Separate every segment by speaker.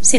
Speaker 1: Si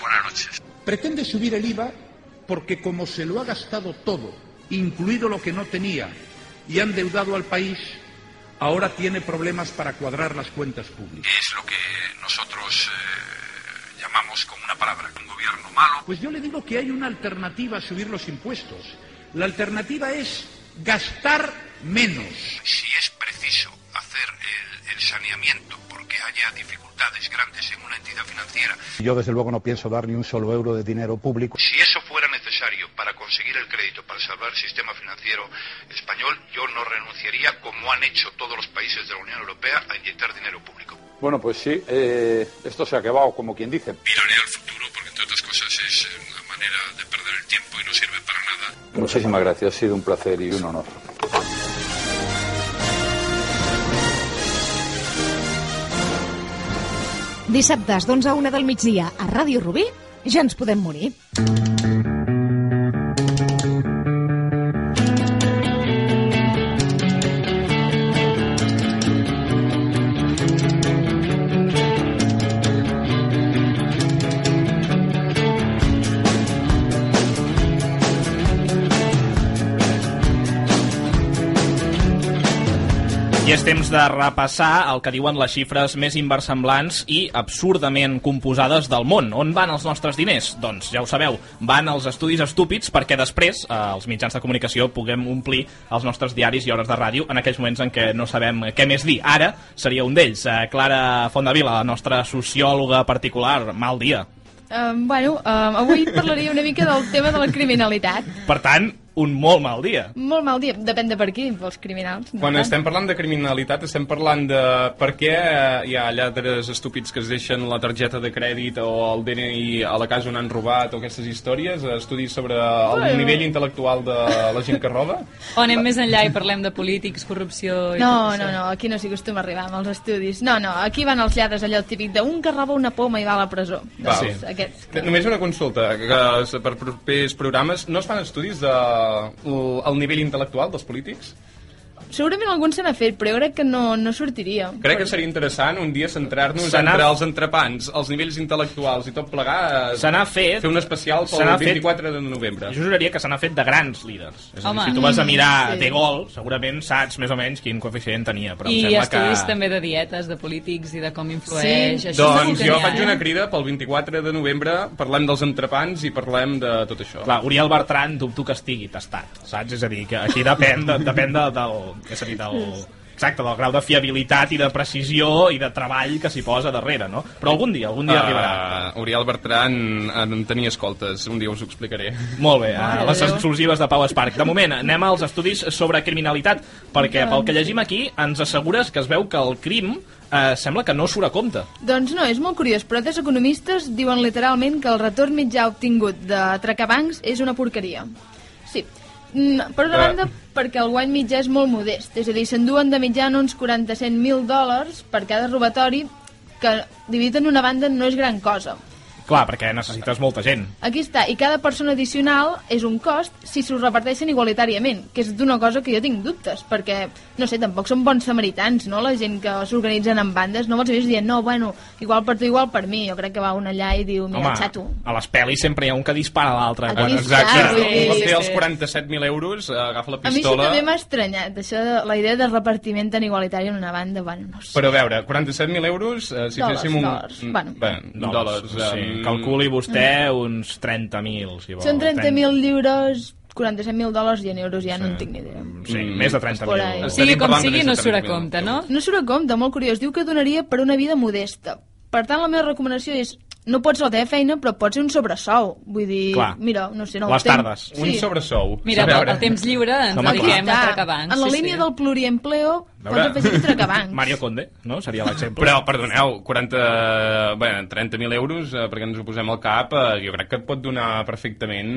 Speaker 2: Buenas noches.
Speaker 3: Pretende subir el IVA porque como se lo ha gastado todo, incluido lo que no tenía, y ha endeudado al país, ahora tiene problemas para cuadrar las cuentas públicas.
Speaker 2: Es lo que nosotros eh, llamamos con una palabra, un gobierno malo.
Speaker 3: Pues yo le digo que hay una alternativa a subir los impuestos. La alternativa es gastar menos.
Speaker 2: Si es preciso hacer el, el saneamiento porque haya dificultades grandes en una entidad financiera,
Speaker 4: Yo desde luego no pienso dar ni un solo euro de dinero público.
Speaker 2: si eso fuera necesario para conseguir el crédito, para salvar el sistema financiero español, yo no renunciaría, como han hecho todos los países de la Unión Europea, a inyectar dinero público.
Speaker 5: Bueno, pues sí, eh, esto se ha acabado, como quien dice.
Speaker 2: Miraré al futuro porque, entre otras cosas, es eh, una manera de perder el tiempo y no sirve para nada.
Speaker 5: Muchísimas gracias, ha sido un placer y un honor.
Speaker 6: Dissabtes d'11 a 1 del migdia a Ràdio Rubí, ja ens podem morir.
Speaker 7: I és temps de repassar el que diuen les xifres més inversemblants i absurdament composades del món. On van els nostres diners? Doncs ja ho sabeu, van als estudis estúpids perquè després eh, els mitjans de comunicació puguem omplir els nostres diaris i hores de ràdio en aquells moments en què no sabem què més dir. Ara seria un d'ells. Eh, Clara Fondavila, la nostra sociòloga particular, mal dia.
Speaker 8: Um, bueno, um, avui parlaria una mica del tema de la criminalitat.
Speaker 7: Per tant, un molt mal dia.
Speaker 8: Molt mal dia, depèn de per qui, pels criminals. no
Speaker 9: Quan
Speaker 8: tant.
Speaker 9: estem parlant de criminalitat, estem parlant de per què eh, hi ha lladres estúpids que es deixen la targeta de crèdit o el DNI a la casa on han robat o aquestes històries, eh, estudis sobre el
Speaker 8: Bueno.
Speaker 9: nivell intel·lectual de la gent que roba.
Speaker 10: O anem més enllà i parlem de polítics, corrupció... I
Speaker 8: No,
Speaker 10: tot
Speaker 8: no,
Speaker 10: això.
Speaker 8: no, aquí no s'hi acostuma a arribar amb els estudis. No, no, aquí van els lladres allò típic d'un que roba una poma i va a la presó.
Speaker 9: Va.
Speaker 8: Doncs
Speaker 9: Sí.
Speaker 8: Aquests.
Speaker 9: Que Només una consulta, que s- per propers programes no es fan estudis de l- el nivell intel·lectual dels polítics?
Speaker 8: Segurament algun se n'ha fet, però jo crec que no, no sortiria.
Speaker 9: Crec que seria interessant un dia centrar-nos
Speaker 7: Se n'ha-
Speaker 9: entre els entrepans, els nivells intel·lectuals i tot plegar,
Speaker 7: Se n'ha fet...
Speaker 9: fer un especial
Speaker 7: se n'ha
Speaker 9: pel
Speaker 7: fet-
Speaker 9: 24 de novembre.
Speaker 7: Jo juraria que se n'ha fet de grans líders. És a dir,
Speaker 10: Home.
Speaker 7: si tu vas a mirar
Speaker 8: Sí.
Speaker 7: de gol, segurament saps més o menys quin coeficient tenia. Però em
Speaker 10: I
Speaker 7: sembla
Speaker 10: estudis
Speaker 7: que...
Speaker 10: també de dietes, de polítics i de com influeix.
Speaker 8: Sí.
Speaker 10: Això segur
Speaker 9: Doncs
Speaker 10: que
Speaker 9: jo
Speaker 10: n'hi ha,
Speaker 9: faig
Speaker 10: eh?
Speaker 9: una crida pel 24 de novembre, parlem dels entrepans i parlem de tot això.
Speaker 7: Clar, Oriol Bertran dubto que estigui tastat, saps? És a dir, que aquí depèn, de, depèn de, del, és a dir, del, exacte, del grau de fiabilitat i de precisió i de treball que s'hi posa darrere, no? Però algun dia, algun dia uh... arribarà.
Speaker 9: Uh, Oriol Bertran en tenia escoltes, un dia us ho explicaré.
Speaker 7: Molt bé, a
Speaker 8: Mare
Speaker 7: les
Speaker 8: de Déu.
Speaker 7: exclusives de Pau Esparc. De moment, anem als estudis sobre criminalitat, perquè pel que llegim aquí ens assegures que es veu que el crim eh, sembla que no surt a compte.
Speaker 8: Doncs no, és molt curiós, però tres economistes diuen literalment que el retorn mitjà obtingut d'atracar bancs és una porqueria. Sí, Mm, per una
Speaker 9: Ah.
Speaker 8: banda, perquè el guany mitjà és molt modest, és a dir, s'enduen de mitjana uns 40-100.000 dòlars per cada robatori, que dividit en una banda no és gran cosa.
Speaker 7: Clar, perquè necessites molta gent.
Speaker 8: Aquí està, i cada persona addicional és un cost si s'ho reparteixen igualitàriament, que és d'una cosa que jo tinc dubtes, perquè, no sé, tampoc són bons samaritans, no?, la gent que s'organitzen en bandes, no vols dir dient, no, bueno, igual per tu, igual per mi, jo crec que va un allà i diu, mira, xato.
Speaker 7: a les pel·lis sempre hi ha un que dispara a l'altre.
Speaker 8: Aquí
Speaker 7: quan-
Speaker 8: sí. Exacte.
Speaker 9: Un
Speaker 8: sí,
Speaker 9: cop té
Speaker 8: sí.
Speaker 9: els 47.000 euros, eh, agafa la
Speaker 8: A mi això
Speaker 9: pistola...
Speaker 8: també m'ha estranyat, això, de- la idea de repartiment tan igualitari en una banda, bueno, no sé.
Speaker 9: Però a veure, 47.000 euros, eh, si
Speaker 8: Dòlars,
Speaker 9: féssim un...
Speaker 8: dòlars. Bueno.
Speaker 9: Bé, dòlars. eh,
Speaker 7: sí.
Speaker 9: em,
Speaker 7: Calculi vostè uns 30.000, si vol.
Speaker 8: Són 30.000 lliures, 47.000 dòlars i en euros ja no en tinc ni idea.
Speaker 7: Sí,
Speaker 9: Mm.
Speaker 7: més de
Speaker 8: Por ahí.
Speaker 7: 30.000.
Speaker 10: Sigui com
Speaker 9: parlant de
Speaker 10: sigui,
Speaker 9: més
Speaker 10: no
Speaker 9: de
Speaker 10: surt a
Speaker 9: 30.000
Speaker 10: compte, no?
Speaker 8: No surt a compte, molt curiós. Diu que donaria per una vida modesta. Per tant, la meva recomanació és no pots no tenir feina, però pots ser un sobresou. Vull dir,
Speaker 7: Clar.
Speaker 8: mira, no sé, no
Speaker 7: Les
Speaker 8: temps-
Speaker 7: tardes.
Speaker 9: Un sobresou.
Speaker 10: Mira,
Speaker 9: A
Speaker 10: el,
Speaker 9: veure.
Speaker 10: el temps lliure ens
Speaker 7: Home,
Speaker 10: Home, dediquem
Speaker 8: Clar,
Speaker 10: a atracabancs.
Speaker 8: en la
Speaker 10: sí,
Speaker 8: línia
Speaker 10: sí.
Speaker 8: del pluriempleo
Speaker 9: A veure.
Speaker 8: pots afegir atracabancs.
Speaker 7: Mario Conde, no? Seria l'exemple.
Speaker 9: Però, perdoneu, 40... Bé, 30.000 euros, eh, perquè ens ho posem al cap, eh, jo crec que et pot donar perfectament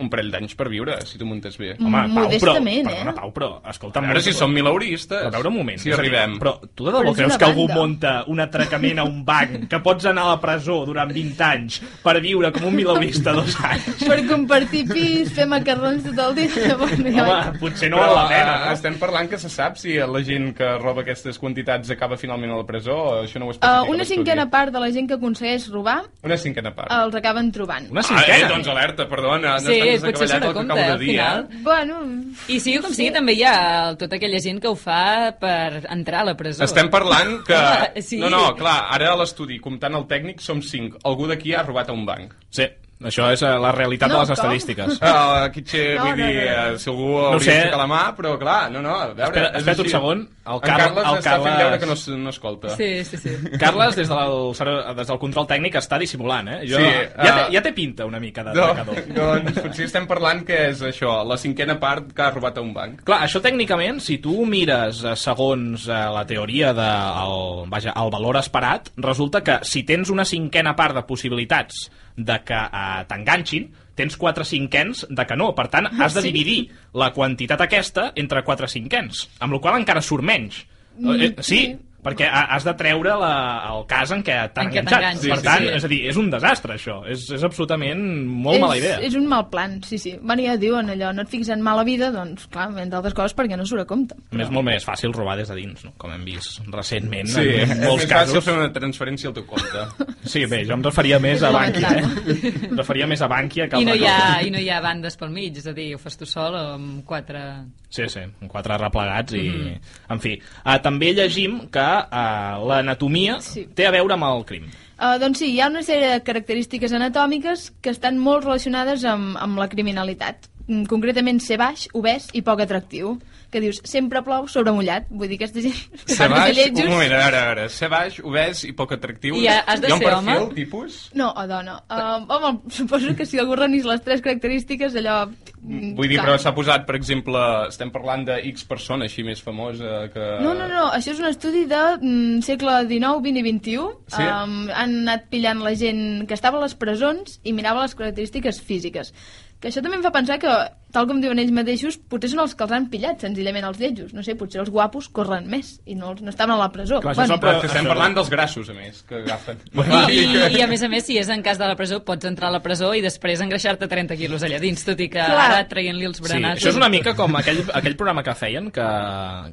Speaker 9: un parell d'anys per viure, si t'ho muntes bé.
Speaker 8: Mm,
Speaker 7: Home, Pau, però,
Speaker 8: modestament, eh?
Speaker 7: perdona, Pau, però, escolta...
Speaker 9: A veure si som milauristes.
Speaker 7: A veure un moment.
Speaker 9: Si
Speaker 7: és a dir,
Speaker 9: arribem.
Speaker 7: Però tu de
Speaker 8: Però
Speaker 7: debò
Speaker 8: és
Speaker 7: creus
Speaker 8: una
Speaker 7: que algú
Speaker 8: banda.
Speaker 7: munta un atracament a un banc que pots anar a la presó durant 20 anys per viure com un milaurista dos anys?
Speaker 8: Per compartir pis, fer macarrons tot el dia. Bueno, ja vaig.
Speaker 7: Home, potser no val la pena,
Speaker 9: eh,
Speaker 7: no?
Speaker 9: estem parlant que se sap si la gent que roba aquestes quantitats acaba finalment a la presó, o això no ho especifica.
Speaker 8: Eh, una
Speaker 9: l'estudi.
Speaker 8: cinquena part de la gent que aconsegueix robar
Speaker 9: Una cinquena part.
Speaker 8: els acaben trobant.
Speaker 7: Una
Speaker 9: Ah, eh,
Speaker 7: cinquena.
Speaker 9: doncs alerta, perdona.
Speaker 10: Sí,
Speaker 9: no
Speaker 10: és
Speaker 9: estàs
Speaker 10: potser
Speaker 9: desacaballat
Speaker 10: surt a
Speaker 9: el que
Speaker 10: compte,
Speaker 9: acabo de
Speaker 10: al
Speaker 9: dir,
Speaker 10: final.
Speaker 9: eh?
Speaker 8: Bueno,
Speaker 10: I sigui com sigui, també hi ha el- tota aquella gent que ho fa per entrar a la presó.
Speaker 9: Estem parlant que...
Speaker 10: Home, Ah, sí.
Speaker 9: No, no, clar, ara a l'estudi, comptant el tècnic, som cinc. Algú d'aquí ha robat a un banc.
Speaker 7: Sí, això és eh, la realitat
Speaker 8: No,
Speaker 7: de les
Speaker 8: com?
Speaker 7: estadístiques.
Speaker 9: Uh, Kitxe,
Speaker 8: No,
Speaker 9: vull
Speaker 8: no,
Speaker 9: dir,
Speaker 8: no, no.
Speaker 9: eh, si algú hauria
Speaker 7: sé.
Speaker 9: sé. d'aixecar la mà, però clar, no, no, a veure...
Speaker 7: Espera-
Speaker 9: és
Speaker 7: espera't un
Speaker 9: així.
Speaker 7: segon, el
Speaker 9: En
Speaker 7: Carles-
Speaker 9: Carles
Speaker 7: el
Speaker 9: està fent
Speaker 7: Carles-
Speaker 9: veure que no, s- no escolta.
Speaker 10: Sí, sí, sí.
Speaker 7: Carles, des del, ser- des del control tècnic, està dissimulant, eh? Jo,
Speaker 9: Sí,
Speaker 7: ja, té,
Speaker 9: eh,
Speaker 7: ja té pinta una mica de
Speaker 9: Doncs,
Speaker 7: d'atracador.
Speaker 9: doncs potser estem parlant que és això, la cinquena part que ha robat a un banc.
Speaker 7: Clar, això tècnicament, si tu ho mires eh, segons eh, la teoria de el, vaja, el valor esperat, resulta que si tens una cinquena part de possibilitats de que eh, t'enganxin, tens quatre cinquens de que no. Per tant,
Speaker 8: Ah,
Speaker 7: has de dividir la quantitat aquesta entre quatre cinquens, amb la qual cosa encara surt menys.
Speaker 8: Mm,
Speaker 7: Eh, sí,
Speaker 8: sí.
Speaker 7: perquè ha- has de treure la, el cas en què t'han
Speaker 10: En què
Speaker 7: enganxat.
Speaker 10: t'enganxes,
Speaker 7: per
Speaker 10: sí,
Speaker 7: tant,
Speaker 10: sí.
Speaker 7: és a dir, és un desastre, això. És, és absolutament molt
Speaker 8: és,
Speaker 7: mala idea.
Speaker 8: és un mal plan, sí, sí. Bueno, ja diuen allò, no et fixes en mala vida, doncs, clar, entre altres coses, perquè no surt a compte.
Speaker 7: A més, és molt més fàcil robar des de dins, no? com hem vist recentment
Speaker 9: Sí,
Speaker 7: en
Speaker 9: és
Speaker 7: molts
Speaker 9: més fàcil
Speaker 7: casos.
Speaker 9: fer una transferència al teu compte.
Speaker 7: Sí, bé, jo em referia més a Bànquia. Eh? Em referia més a Bànquia que
Speaker 10: I no,
Speaker 7: altra
Speaker 10: hi ha,
Speaker 7: cosa.
Speaker 10: I no hi ha bandes pel mig, és a dir, ho fas tu sol o amb quatre...
Speaker 7: Sí, sí, amb quatre replegats i...
Speaker 10: Mhm.
Speaker 7: En fi, uh, també llegim que uh, l'anatomia
Speaker 8: Sí.
Speaker 7: té a veure amb el crim.
Speaker 8: Uh, doncs sí, hi ha una sèrie de característiques anatòmiques que estan molt relacionades amb, amb la criminalitat. Mm, Concretament, ser baix, obès i poc atractiu. Que dius, sempre plou sobre mullat. Vull dir, aquesta gent...
Speaker 9: Ser baix,
Speaker 8: lletjos.
Speaker 9: un moment, eh? a veure, a veure, ser baix, obès i poc atractiu.
Speaker 10: I ha- has de
Speaker 9: Hi ha un
Speaker 10: ser
Speaker 9: perfil,
Speaker 10: home?
Speaker 9: tipus?
Speaker 8: No, o dona. Uh, home, suposo que si algú reunís les tres característiques, allò... mm,
Speaker 9: Vull dir,
Speaker 8: clar.
Speaker 9: però s'ha posat, per exemple, estem parlant de X persona així més famosa que...
Speaker 8: No, no, no, això és un estudi de mm, segle XIX, XX i XXI.
Speaker 9: Sí?
Speaker 8: Um, han anat pillant la gent que estava a les presons i mirava les característiques físiques. Que això també em fa pensar que, tal com diuen ells mateixos, potser són els que els han pillat, senzillament, els lletjos. No sé, potser els guapos corren més i no, els- no estaven a la presó.
Speaker 7: Clar, això és el
Speaker 9: Però és que
Speaker 7: Això-
Speaker 9: estem parlant dels grassos, a més, que agafen.
Speaker 8: Eh,
Speaker 10: I, i, I a més a més, si és en cas de la presó, pots entrar a la presó i després engreixar-te 30 quilos allà dins, tot i que
Speaker 8: Clar.
Speaker 10: ara traient-li
Speaker 7: Sí,
Speaker 10: els berenats...
Speaker 7: això és una mica com aquell, aquell programa que feien, que,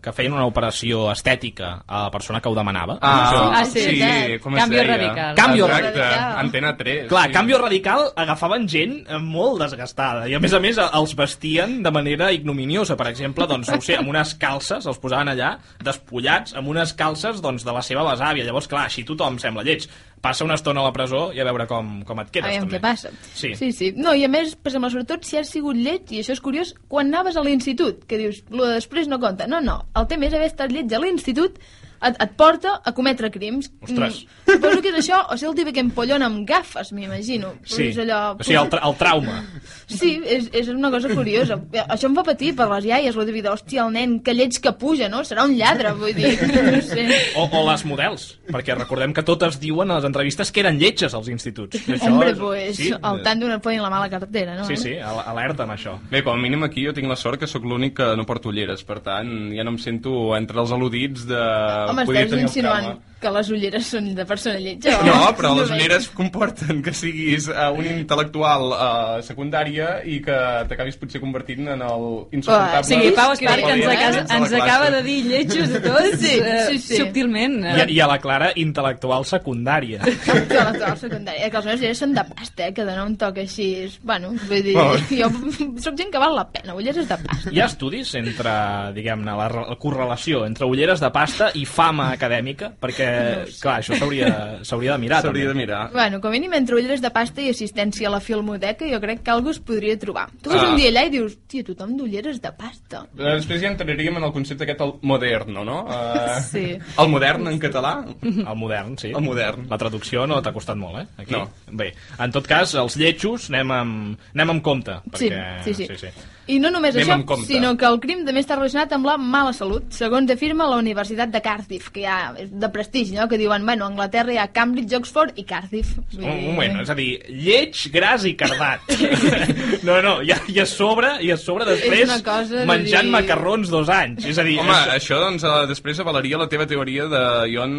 Speaker 7: que feien una operació estètica a la persona que ho demanava.
Speaker 10: Ah, sí,
Speaker 8: veritat.
Speaker 9: com es
Speaker 10: Cambio
Speaker 9: deia?
Speaker 10: radical.
Speaker 7: Cambio
Speaker 9: Exacte,
Speaker 8: radical.
Speaker 9: Antena 3.
Speaker 7: Clar, sí. Canvio Radical agafaven gent eh, molt desgastada i a més a més eh, els vestien de manera ignominiosa, per exemple, doncs, no ho sé, amb unes calces, els posaven allà despullats amb unes calces doncs, de la seva besàvia. Llavors, clar, així tothom sembla lleig. Passa una estona a la presó i a veure com, com et quedes.
Speaker 8: Aviam
Speaker 7: també.
Speaker 8: què passa.
Speaker 7: Sí.
Speaker 8: sí, sí. No, i a més, per exemple, sobretot si has sigut lleig, i això és curiós, quan anaves a l'institut, que dius, lo de després no compta. No, no, el tema és haver estat lleig a l'institut et, et porta a cometre crims.
Speaker 7: Ostres.
Speaker 8: Mm, suposo que és això, o sigui, el típic empollon amb gafes, m'imagino.
Speaker 7: Sí,
Speaker 8: És allò...
Speaker 7: o sigui, el, tra el trauma.
Speaker 8: Sí, és, és una cosa curiosa. Això em fa patir per les iaies, lo típic de, hòstia, el nen, que lleig que puja, no? Serà un lladre, vull dir, no sé.
Speaker 7: O, o les models, perquè recordem que totes diuen a les entrevistes que eren lletges als instituts. I això
Speaker 8: Hombre,
Speaker 7: és-
Speaker 8: pues,
Speaker 7: sí,
Speaker 8: al tant d'una polla en la mala cartera, no?
Speaker 7: sí, sí, al- alerta amb això.
Speaker 9: Bé, com a mínim aquí jo tinc la sort que sóc l'únic que no porto ulleres, per tant, ja no em sento entre els al·ludits de...
Speaker 8: Home,
Speaker 9: poder
Speaker 8: estàs
Speaker 9: Eh, tenir el
Speaker 8: insinuant
Speaker 9: cama.
Speaker 8: que les ulleres són de persona lletja? o?
Speaker 9: No, però les
Speaker 8: bé.
Speaker 9: ulleres comporten que siguis eh, un intel·lectual eh, secundària i que t'acabis potser convertint en el
Speaker 8: Ah,
Speaker 9: insuportable...
Speaker 10: O sigui, Pau Esclar,
Speaker 8: Clar,
Speaker 10: que ens,
Speaker 8: eh?
Speaker 10: acaba, ens acaba de dir lletjos a tots,
Speaker 8: Sí,
Speaker 10: eh,
Speaker 8: sí, sí.
Speaker 10: subtilment.
Speaker 7: I, a- I a la Clara, intel·lectual secundària.
Speaker 8: Que les de la secundària, que les meves ulleres són de pasta, eh, que donar un toc així... és- Bueno, vull dir,
Speaker 9: Bueno.
Speaker 8: jo sóc gent que val la pena, ulleres de pasta.
Speaker 7: Hi ha estudis entre, diguem-ne, la, re- la correlació entre ulleres de pasta i fama acadèmica? Perquè, clar, això s'hauria s'hauria de mirar.
Speaker 9: S'hauria
Speaker 7: també.
Speaker 9: de mirar.
Speaker 8: Bueno, com a mínim, entre ulleres de pasta i assistència a la filmoteca, jo crec que algú es podria trobar. Tu vas
Speaker 9: Ah.
Speaker 8: un dia allà i dius, tia, tothom d'ulleres de pasta.
Speaker 9: Eh, Després ja entraríem en el concepte aquest el moderno, no? Eh,
Speaker 8: Sí.
Speaker 9: El modern en català?
Speaker 7: El modern, sí.
Speaker 9: El modern.
Speaker 7: La traducció no t'ha costat molt, eh? Aquí.
Speaker 9: No.
Speaker 7: Bé, en tot cas, els lletjos anem amb, anem amb compte.
Speaker 8: Sí,
Speaker 7: Perquè...
Speaker 8: sí, sí.
Speaker 7: sí, sí.
Speaker 8: I no només
Speaker 9: Anem amb
Speaker 8: això,
Speaker 9: compte.
Speaker 8: sinó que el crim també està relacionat amb la mala salut, segons afirma la Universitat de Cardiff, que ja és de prestigi, no? que diuen, bueno, a Anglaterra hi ha Cambridge, Oxford i Cardiff. Vull
Speaker 7: Un
Speaker 8: dir-
Speaker 7: moment, és a dir, lleig, gras i cardat. No, no, i a, i a sobre, i a sobre després
Speaker 8: una cosa de
Speaker 7: menjant
Speaker 8: dir-
Speaker 7: macarrons dos anys. És a dir,
Speaker 9: Home,
Speaker 7: és...
Speaker 9: això doncs eh, després avalaria la teva teoria de Ion...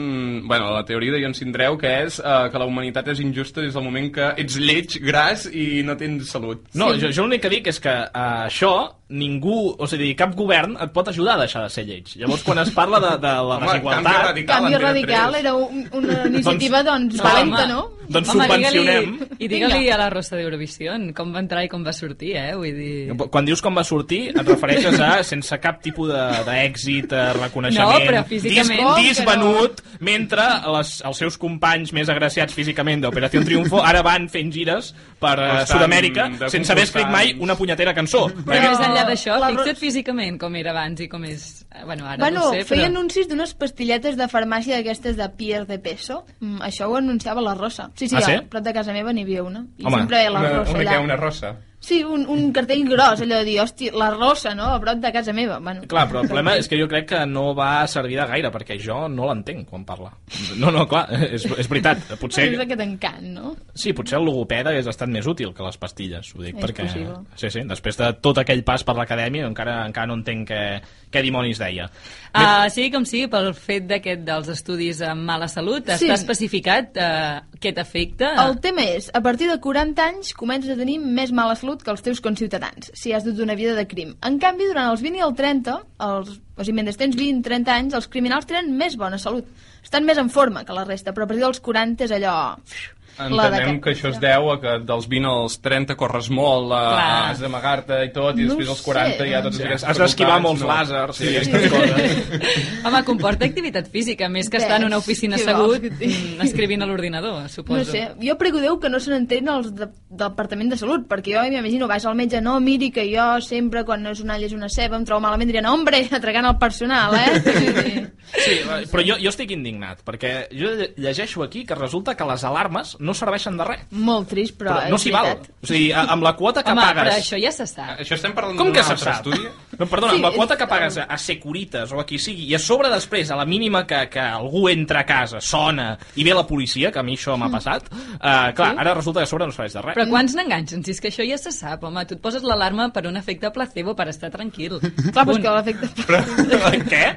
Speaker 9: Bueno, la teoria de Ion Sindreu, que és eh, que la humanitat és injusta des del moment que ets lleig, gras i no tens salut.
Speaker 7: No, jo, jo l'únic que dic és que uh, això ningú, o sigui, cap govern et pot ajudar a deixar de ser lleig. Llavors, quan es parla de, de la
Speaker 9: Home, canvi
Speaker 7: desigualtat...
Speaker 9: radical.
Speaker 8: Canvi
Speaker 9: Antena
Speaker 8: radical
Speaker 9: tres.
Speaker 8: era un, una iniciativa, doncs,
Speaker 7: no,
Speaker 8: valenta,
Speaker 10: home.
Speaker 8: no?
Speaker 7: Doncs
Speaker 10: Home,
Speaker 7: subvencionem.
Speaker 10: digue-li- I digue-li a la rossa d'Eurovisió com va entrar i com va sortir, eh? Vull dir...
Speaker 7: Quan dius com va sortir, et refereixes a sense cap tipus de- d'èxit, eh, reconeixement,
Speaker 10: No, però físicament.
Speaker 7: dis-
Speaker 10: Com que no?
Speaker 7: disvenut, mentre les, els seus companys més agraciats físicament d'Operació Triunfo ara van fent gires per eh,
Speaker 9: Constants,
Speaker 7: Sud-amèrica
Speaker 9: de
Speaker 7: sense haver escrit mai
Speaker 9: constants.
Speaker 7: una punyetera cançó.
Speaker 10: Però
Speaker 7: Perquè-
Speaker 10: més enllà d'això,
Speaker 8: la-
Speaker 10: fixa't físicament com era abans i com és... eh, Bueno, ara
Speaker 8: Bueno,
Speaker 10: no ho sé,
Speaker 8: feia
Speaker 10: però...
Speaker 8: anuncis d'unes pastilletes de farmàcia d'aquestes de Pierre de Peso. Mm, això ho anunciava la Rosa. Sí, sí,
Speaker 7: Ah, sí?
Speaker 8: a prop de casa meva n'hi havia una. I
Speaker 7: Home,
Speaker 8: sempre la
Speaker 9: Una,
Speaker 8: Rosa
Speaker 9: una,
Speaker 8: allà.
Speaker 9: que, una rossa.
Speaker 8: Sí, un, un cartell gros, allò de dir, hòstia, la Rosa, no?, a prop de casa meva. Bueno,
Speaker 7: Clar, però el problema és que jo crec que no va servir de gaire, perquè jo no l'entenc quan parla. No, no, clar, és, és veritat. Potser,
Speaker 8: És aquest encant, no?
Speaker 7: Sí, potser el logopeda hagués estat més útil que les pastilles, ho dic,
Speaker 8: És
Speaker 7: perquè...
Speaker 8: possible.
Speaker 7: Sí, sí, després de tot aquell pas per l'acadèmia encara, encara no entenc què, què dimonis deia.
Speaker 10: Uh, sí, com sí, pel fet d'aquest dels estudis amb mala salut,
Speaker 8: Sí.
Speaker 10: està especificat uh, què t'afecta.
Speaker 8: El tema és, a partir de 40 anys comences a tenir més mala salut que els teus conciutadans, si has dut una vida de crim. En canvi, durant els 20 i el 30, els, o sigui, mentre tens 20-30 anys, els criminals tenen més bona salut. Estan més en forma que la resta, però a partir dels 40 és allò... la
Speaker 9: Entenem
Speaker 8: decaència.
Speaker 9: que això es deu a que dels 20 als 30 corres molt, eh,
Speaker 10: Clar.
Speaker 9: has d'amagar-te i tot, i
Speaker 8: No
Speaker 9: després als
Speaker 8: sé.
Speaker 9: 40 hi ha totes aquestes
Speaker 7: Has d'esquivar
Speaker 9: facultats,
Speaker 7: molts
Speaker 9: no?
Speaker 7: làsers i
Speaker 9: Sí.
Speaker 7: aquestes coses.
Speaker 10: Home, comporta activitat física, més que
Speaker 8: Ves,
Speaker 10: estar en una oficina
Speaker 8: què
Speaker 10: assegut
Speaker 8: vols que et digui?
Speaker 10: mm, escrivint a l'ordinador, suposo.
Speaker 8: No sé, jo prego Déu que no se n'entén els de, del Departament de Salut, perquè jo m'imagino, vas al metge, no, miri, que jo sempre, quan no és una ella és una ceba, em trobo malament, diré, no, hombre, atracant el personal, eh? Sí, sí.
Speaker 7: Sí, però jo, jo estic indignat, perquè jo lle- llegeixo aquí que resulta que les alarmes no serveixen de res.
Speaker 8: Molt trist, però,
Speaker 7: Però no
Speaker 8: és
Speaker 7: s'hi val.
Speaker 8: veritat.
Speaker 7: O sigui, a- amb la quota que
Speaker 10: Home,
Speaker 7: pagues...
Speaker 10: però això ja se sap.
Speaker 9: Ah, Això estem parlant
Speaker 7: Com
Speaker 9: d'un
Speaker 7: que se
Speaker 9: altre
Speaker 7: sap?
Speaker 9: estudi?
Speaker 7: No, perdona,
Speaker 8: Sí,
Speaker 7: amb la quota
Speaker 8: és-
Speaker 7: que pagues a, a Securitas o a qui sigui, i a sobre després, a la mínima que, que algú entra a casa, sona i ve la policia, que a mi
Speaker 8: Mm.
Speaker 7: això m'ha passat, uh, clar, ara resulta que a sobre no serveix de res.
Speaker 10: Però quants n'enganxen? Si és que això ja se sap, home. Tu et poses l'alarma per un efecte placebo, per estar tranquil.
Speaker 8: Clar, però és
Speaker 10: Punt.
Speaker 8: que l'efecte...
Speaker 7: Què?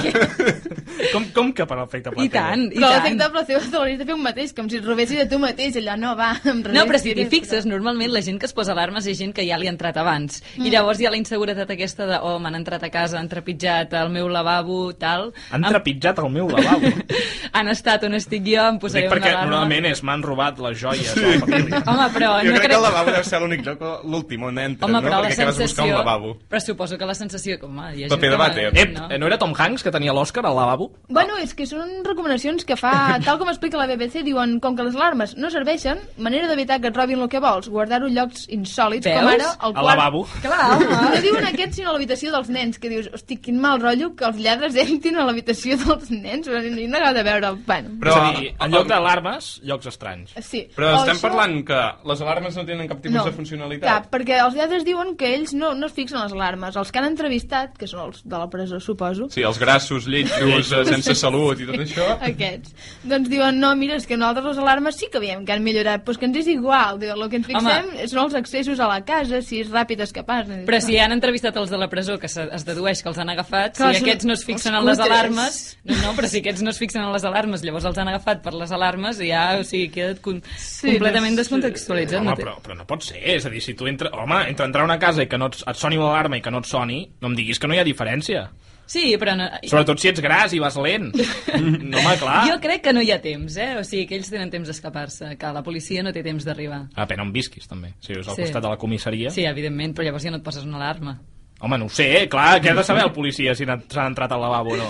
Speaker 7: Però,
Speaker 8: què?
Speaker 7: com, com que per l'efecte
Speaker 10: I
Speaker 7: placebo?
Speaker 10: tant, i
Speaker 8: Però l'efecte
Speaker 10: tant.
Speaker 8: placebo te l'hauries de fer un mateix, com si et robessis a tu mateix, allò, no, va, em
Speaker 10: No, però si
Speaker 8: resistiré,
Speaker 10: t'hi fixes, normalment la gent que es posa alarmes és gent que ja li ha entrat abans. I llavors hi ha la inseguretat aquesta de, oh, m'han entrat a casa, han trepitjat el meu lavabo, tal.
Speaker 7: Han
Speaker 10: Em-
Speaker 7: trepitjat el meu lavabo.
Speaker 10: han estat on estic jo, em
Speaker 7: Ho
Speaker 10: posaré
Speaker 7: dic
Speaker 10: una
Speaker 7: perquè
Speaker 10: alarma.
Speaker 7: normalment és m'han robat les joies sí. de la família.
Speaker 10: Home, però no
Speaker 9: jo crec que
Speaker 10: crec...
Speaker 9: el lavabo deu ser l'únic lloc, l'últim on entres,
Speaker 10: Home,
Speaker 9: no?
Speaker 10: però la
Speaker 9: Perquè acabes de buscar un
Speaker 10: sensació...
Speaker 9: lavabo.
Speaker 10: Però suposo que la sensació... Home, hi ha gent
Speaker 9: Paper de
Speaker 10: que...
Speaker 9: vàter.
Speaker 7: Ep,
Speaker 10: no.
Speaker 7: Eh, no era Tom Hanks que tenia l'Oscar al lavabo?
Speaker 8: Bueno, és que són recomanacions que fa, tal com explica la BBC, diuen, com que les alarmes no serveixen, manera d'evitar que et robin el que vols, guardar-ho en llocs insòlits, com
Speaker 10: Veus?
Speaker 8: ara el
Speaker 7: Al
Speaker 8: quart...
Speaker 7: lavabo.
Speaker 10: Clar,
Speaker 8: No
Speaker 10: home.
Speaker 8: diuen aquest, sinó a l'habitació dels nens, que dius, hosti, quin mal rotllo que els lladres entrin a l'habitació dels nens, però no hi ha de veure el pan.
Speaker 7: Però,
Speaker 9: Però,
Speaker 7: és a dir, en lloc d'alarmes, llocs estranys.
Speaker 8: Sí.
Speaker 9: Però
Speaker 8: O
Speaker 9: estem
Speaker 8: Oh, això-
Speaker 9: parlant que les alarmes no tenen cap tipus de
Speaker 8: Clar,
Speaker 9: funcionalitat.
Speaker 8: perquè els lladres diuen que ells no, no es fixen les alarmes. Els que han entrevistat, que són els de la presó, suposo,
Speaker 9: Sí, els grassos, lletjos, eh, sense salut i tot això.
Speaker 8: aquests, doncs diuen, no, mira, és que nosaltres les alarmes sí que veiem que han millorat, però és que ens és igual. Diuen, el que ens fixem Home. són els accessos a la casa, si és ràpid escapar.
Speaker 10: Però si han entrevistat els de la presó, que se- es dedueix que els han agafat,
Speaker 8: Clar,
Speaker 10: si
Speaker 8: són
Speaker 10: aquests no es fixen
Speaker 8: els
Speaker 10: en les
Speaker 8: cutres.
Speaker 10: alarmes... No, no, però si aquests no es fixen en les alarmes, llavors els han agafat per les alarmes i ja, o sigui, queda com,
Speaker 8: Sí,
Speaker 10: completament
Speaker 8: no sé.
Speaker 10: descontextualitzat.
Speaker 7: Home,
Speaker 10: no té-
Speaker 7: però, però no pot ser, és a dir, si tu entra... Home, entre entrar a una casa i que no et, et soni l'alarma i que no et soni, no em diguis que no hi ha diferència.
Speaker 10: Sí, però... No...
Speaker 7: Sobretot si ets gras i vas lent. No, home, clar.
Speaker 10: Jo crec que no hi ha temps, eh? O sigui, que ells tenen temps d'escapar-se, que la policia no té temps d'arribar.
Speaker 7: A pena on visquis, també. Si us al
Speaker 10: Sí.
Speaker 7: costat de la comissaria...
Speaker 10: Sí, evidentment, però llavors ja no et poses una alarma.
Speaker 7: Home, no ho sé, clar, què ha de saber el policia si n'ha- s'ha entrat al lavabo o no?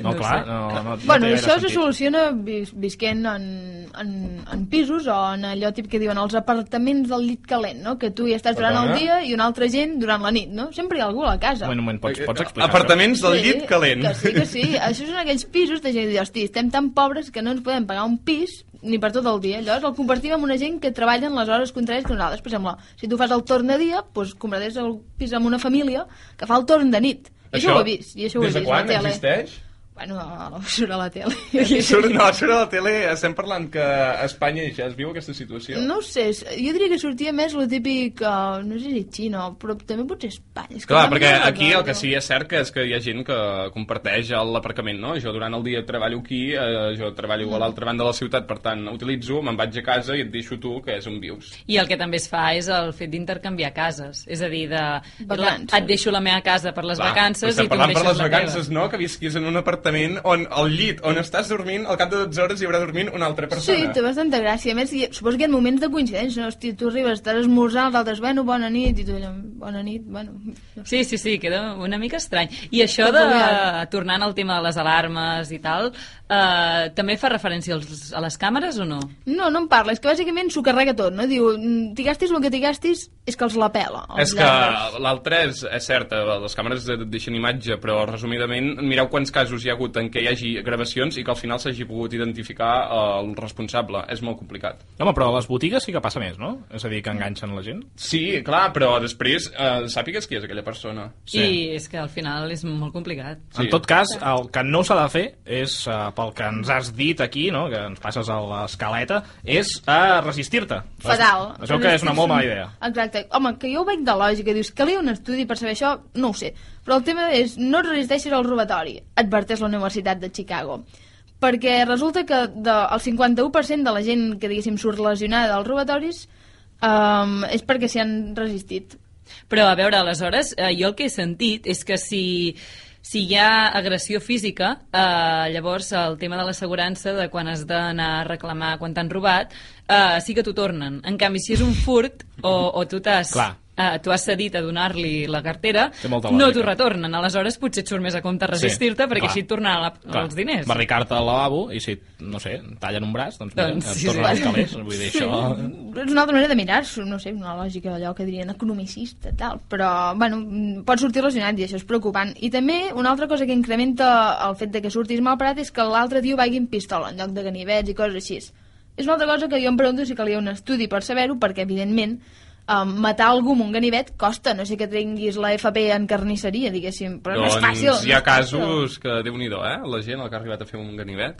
Speaker 7: No,
Speaker 8: ho
Speaker 7: clar,
Speaker 8: sé.
Speaker 7: no, no, no té
Speaker 8: bueno,
Speaker 7: gaire
Speaker 8: això se
Speaker 7: sentit.
Speaker 8: soluciona vis visquent en, en, en pisos o en allò tip que diuen els apartaments del llit calent, no? Que tu hi estàs durant el
Speaker 9: Perdona?
Speaker 8: dia i una altra gent durant la nit, no? Sempre hi ha algú a la casa.
Speaker 7: Un moment, un moment, pots,
Speaker 9: Eh,
Speaker 7: pots explicar
Speaker 9: Apartaments del llit calent.
Speaker 8: Que sí, que sí. Això són aquells pisos de gent que diu, hosti, estem tan pobres que no ens podem pagar un pis ni per tot el dia. Llavors el compartim amb una gent que treballa en les hores contràries que nosaltres. Per exemple, si tu fas el torn de dia, doncs compraries el pis amb una família que fa el torn de nit. I això, ho he vist. I això ho he
Speaker 9: des
Speaker 8: vist
Speaker 9: de
Speaker 8: a
Speaker 9: quan
Speaker 8: la tele.
Speaker 9: existeix?
Speaker 8: Bueno, a la- surt a la tele.
Speaker 9: Surt, no, surt a la tele, estem parlant que a Espanya ja es viu aquesta situació.
Speaker 8: No ho sé, és- jo diria que sortia més el típic, eh, no sé si Xina, però també pot ser Espanya. És que
Speaker 9: Clar,
Speaker 8: no me'n
Speaker 9: perquè aquí el
Speaker 8: recordo.
Speaker 9: que sí és cert que és que hi ha gent que comparteix el- l'aparcament, no? Jo durant el dia treballo aquí, eh, jo treballo
Speaker 8: Mm.
Speaker 9: a l'altra banda de la ciutat, per tant, utilitzo, me'n vaig a casa i et deixo tu, que és on vius.
Speaker 10: I el que també es fa és el fet d'intercanviar cases. És a dir, de... La,
Speaker 8: Vacances.
Speaker 10: et deixo la meva casa per les
Speaker 9: Clar, però
Speaker 10: vacances
Speaker 9: estem
Speaker 10: i tu em
Speaker 9: parlant
Speaker 10: deixes
Speaker 9: per les
Speaker 10: la
Speaker 9: vacances,
Speaker 10: teva.
Speaker 9: no? Que visquis en un apartament on el llit on estàs dormint, al cap de 12 hores hi haurà dormint una altra
Speaker 8: Sí,
Speaker 9: persona.
Speaker 8: té bastanta gràcia. A més, hi- suposo que hi ha moments de coincidència, no? Hosti, tu arribes, estàs esmorzant, els altres, bueno, bona nit, i tu allò, bona nit, bueno...
Speaker 10: Sí, sí, sí, queda una mica estrany. I això
Speaker 8: Tot
Speaker 10: de,
Speaker 8: variat.
Speaker 10: tornant al tema de les alarmes i tal, eh, també fa referència als, a les càmeres o no?
Speaker 8: No, no em parla, és que bàsicament s'ho carrega tot, no? Diu, "Mm, t'hi gastis el que t'hi gastis, és que els la pela. els
Speaker 9: És
Speaker 8: lladres."
Speaker 9: que l'altre és, és cert, eh, les càmeres et deixen imatge, però resumidament mireu quants casos hi ha hagut en què hi hagi gravacions i que al final s'hagi pogut identificar eh, el responsable. És molt complicat.
Speaker 7: Home, però a les botigues sí que passa més, no? És a dir, que enganxen la gent.
Speaker 9: Sí, clar, però després eh, sàpigues qui és aquella persona.
Speaker 10: Sí. I és que al final és molt complicat.
Speaker 7: Sí. En tot cas, el que no s'ha de fer és, eh, pel que ens has dit aquí, no? que ens passes a l'escaleta, és a resistir-te.
Speaker 8: Fatal.
Speaker 7: Això que és una molt mala idea.
Speaker 8: Exacte. Home, que jo ho veig de lògica. Dius, calia un estudi per saber això? No ho sé. Però el tema és, no et resisteixis al robatori, adverteix la Universitat de Chicago. Perquè resulta que de, el 51% de la gent que, diguéssim, surt lesionada dels robatoris um, és perquè s'hi han resistit.
Speaker 10: Però, a veure, aleshores, eh, jo el que he sentit és que si, si hi ha agressió física, eh, llavors el tema de l'assegurança de quan has d'anar a reclamar quan t'han robat, eh, sí que t'ho tornen. En canvi, si és un furt o, o tu t'has...
Speaker 7: Clar.
Speaker 10: Uh, tu has cedit a donar-li la cartera,
Speaker 7: Té molta
Speaker 10: no
Speaker 7: lògica.
Speaker 10: t'ho retornen. Aleshores, potser et surt més a compte resistir-te perquè
Speaker 7: clar.
Speaker 10: així et tornaran la, els diners.
Speaker 7: Barricar-te al lavabo i si, no sé, tallen un braç, doncs, mira,
Speaker 10: Doncs
Speaker 7: doncs,
Speaker 10: sí,
Speaker 7: et tornen
Speaker 10: sí.
Speaker 7: els calés. Vull dir, això...
Speaker 8: És una altra manera de mirar-s'ho, no sé, una lògica allò que dirien economicista, tal, però, bueno, mm, pot sortir lesionat i això és preocupant. I també una altra cosa que incrementa el fet de que surtis mal parat és que l'altre tio vagi amb pistola en lloc de ganivets i coses així. És una altra cosa que jo em pregunto si calia un estudi per saber-ho, perquè, evidentment, Um, matar algú amb un ganivet costa, no sé que trenguis la FP en carnisseria, diguéssim, però no és fàcil.
Speaker 9: doncs hi ha
Speaker 8: no és fàcil.
Speaker 9: casos que, déu-n'hi-do, eh? La gent, el que ha arribat a fer un ganivet.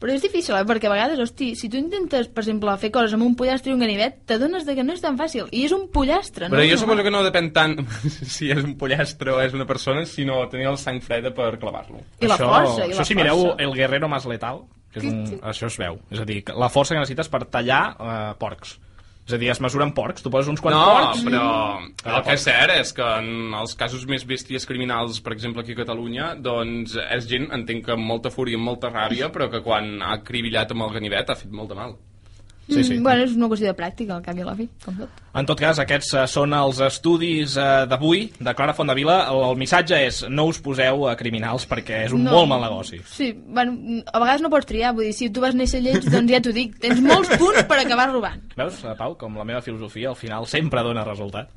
Speaker 8: Però és difícil, eh? perquè a vegades, hosti, si tu intentes, per exemple, fer coses amb un pollastre i un ganivet, t'adones de que no és tan fàcil. I és un pollastre, no?
Speaker 9: Però jo suposo que no depèn tant si és un pollastre o és una persona, sinó tenir el sang freda per clavar-lo.
Speaker 8: I la
Speaker 7: això,
Speaker 8: força, i la
Speaker 7: Això si mireu
Speaker 8: força.
Speaker 7: El Guerrero Más Letal, que és un, això es veu. És a dir, que la força que necessites per tallar eh, porcs. És a dir, es mesuren porcs. Tu poses uns quants
Speaker 9: no,
Speaker 7: porcs...
Speaker 8: Mm,
Speaker 9: però
Speaker 7: Cada
Speaker 9: el que és cert és que en els casos més bèsties criminals, per exemple, aquí a Catalunya, doncs és gent, entenc que amb molta fúria, amb molta ràbia, però que quan ha cribillat amb el ganivet ha fet molt de mal.
Speaker 7: Sí, sí.
Speaker 8: Mm, bueno, és una qüestió de pràctica, al cap i a la fi, com tot.
Speaker 7: En tot cas, aquests eh, són els estudis eh, d'avui de Clara Fondavila. El, el missatge és no us poseu a criminals perquè és un
Speaker 8: No.
Speaker 7: molt mal negoci.
Speaker 8: Sí, bueno, mm, a vegades no pots triar, vull dir, si tu vas néixer lleig, doncs ja t'ho dic, tens molts punts per acabar robant.
Speaker 7: Veus, eh, Pau, com la meva filosofia al final sempre dona resultat.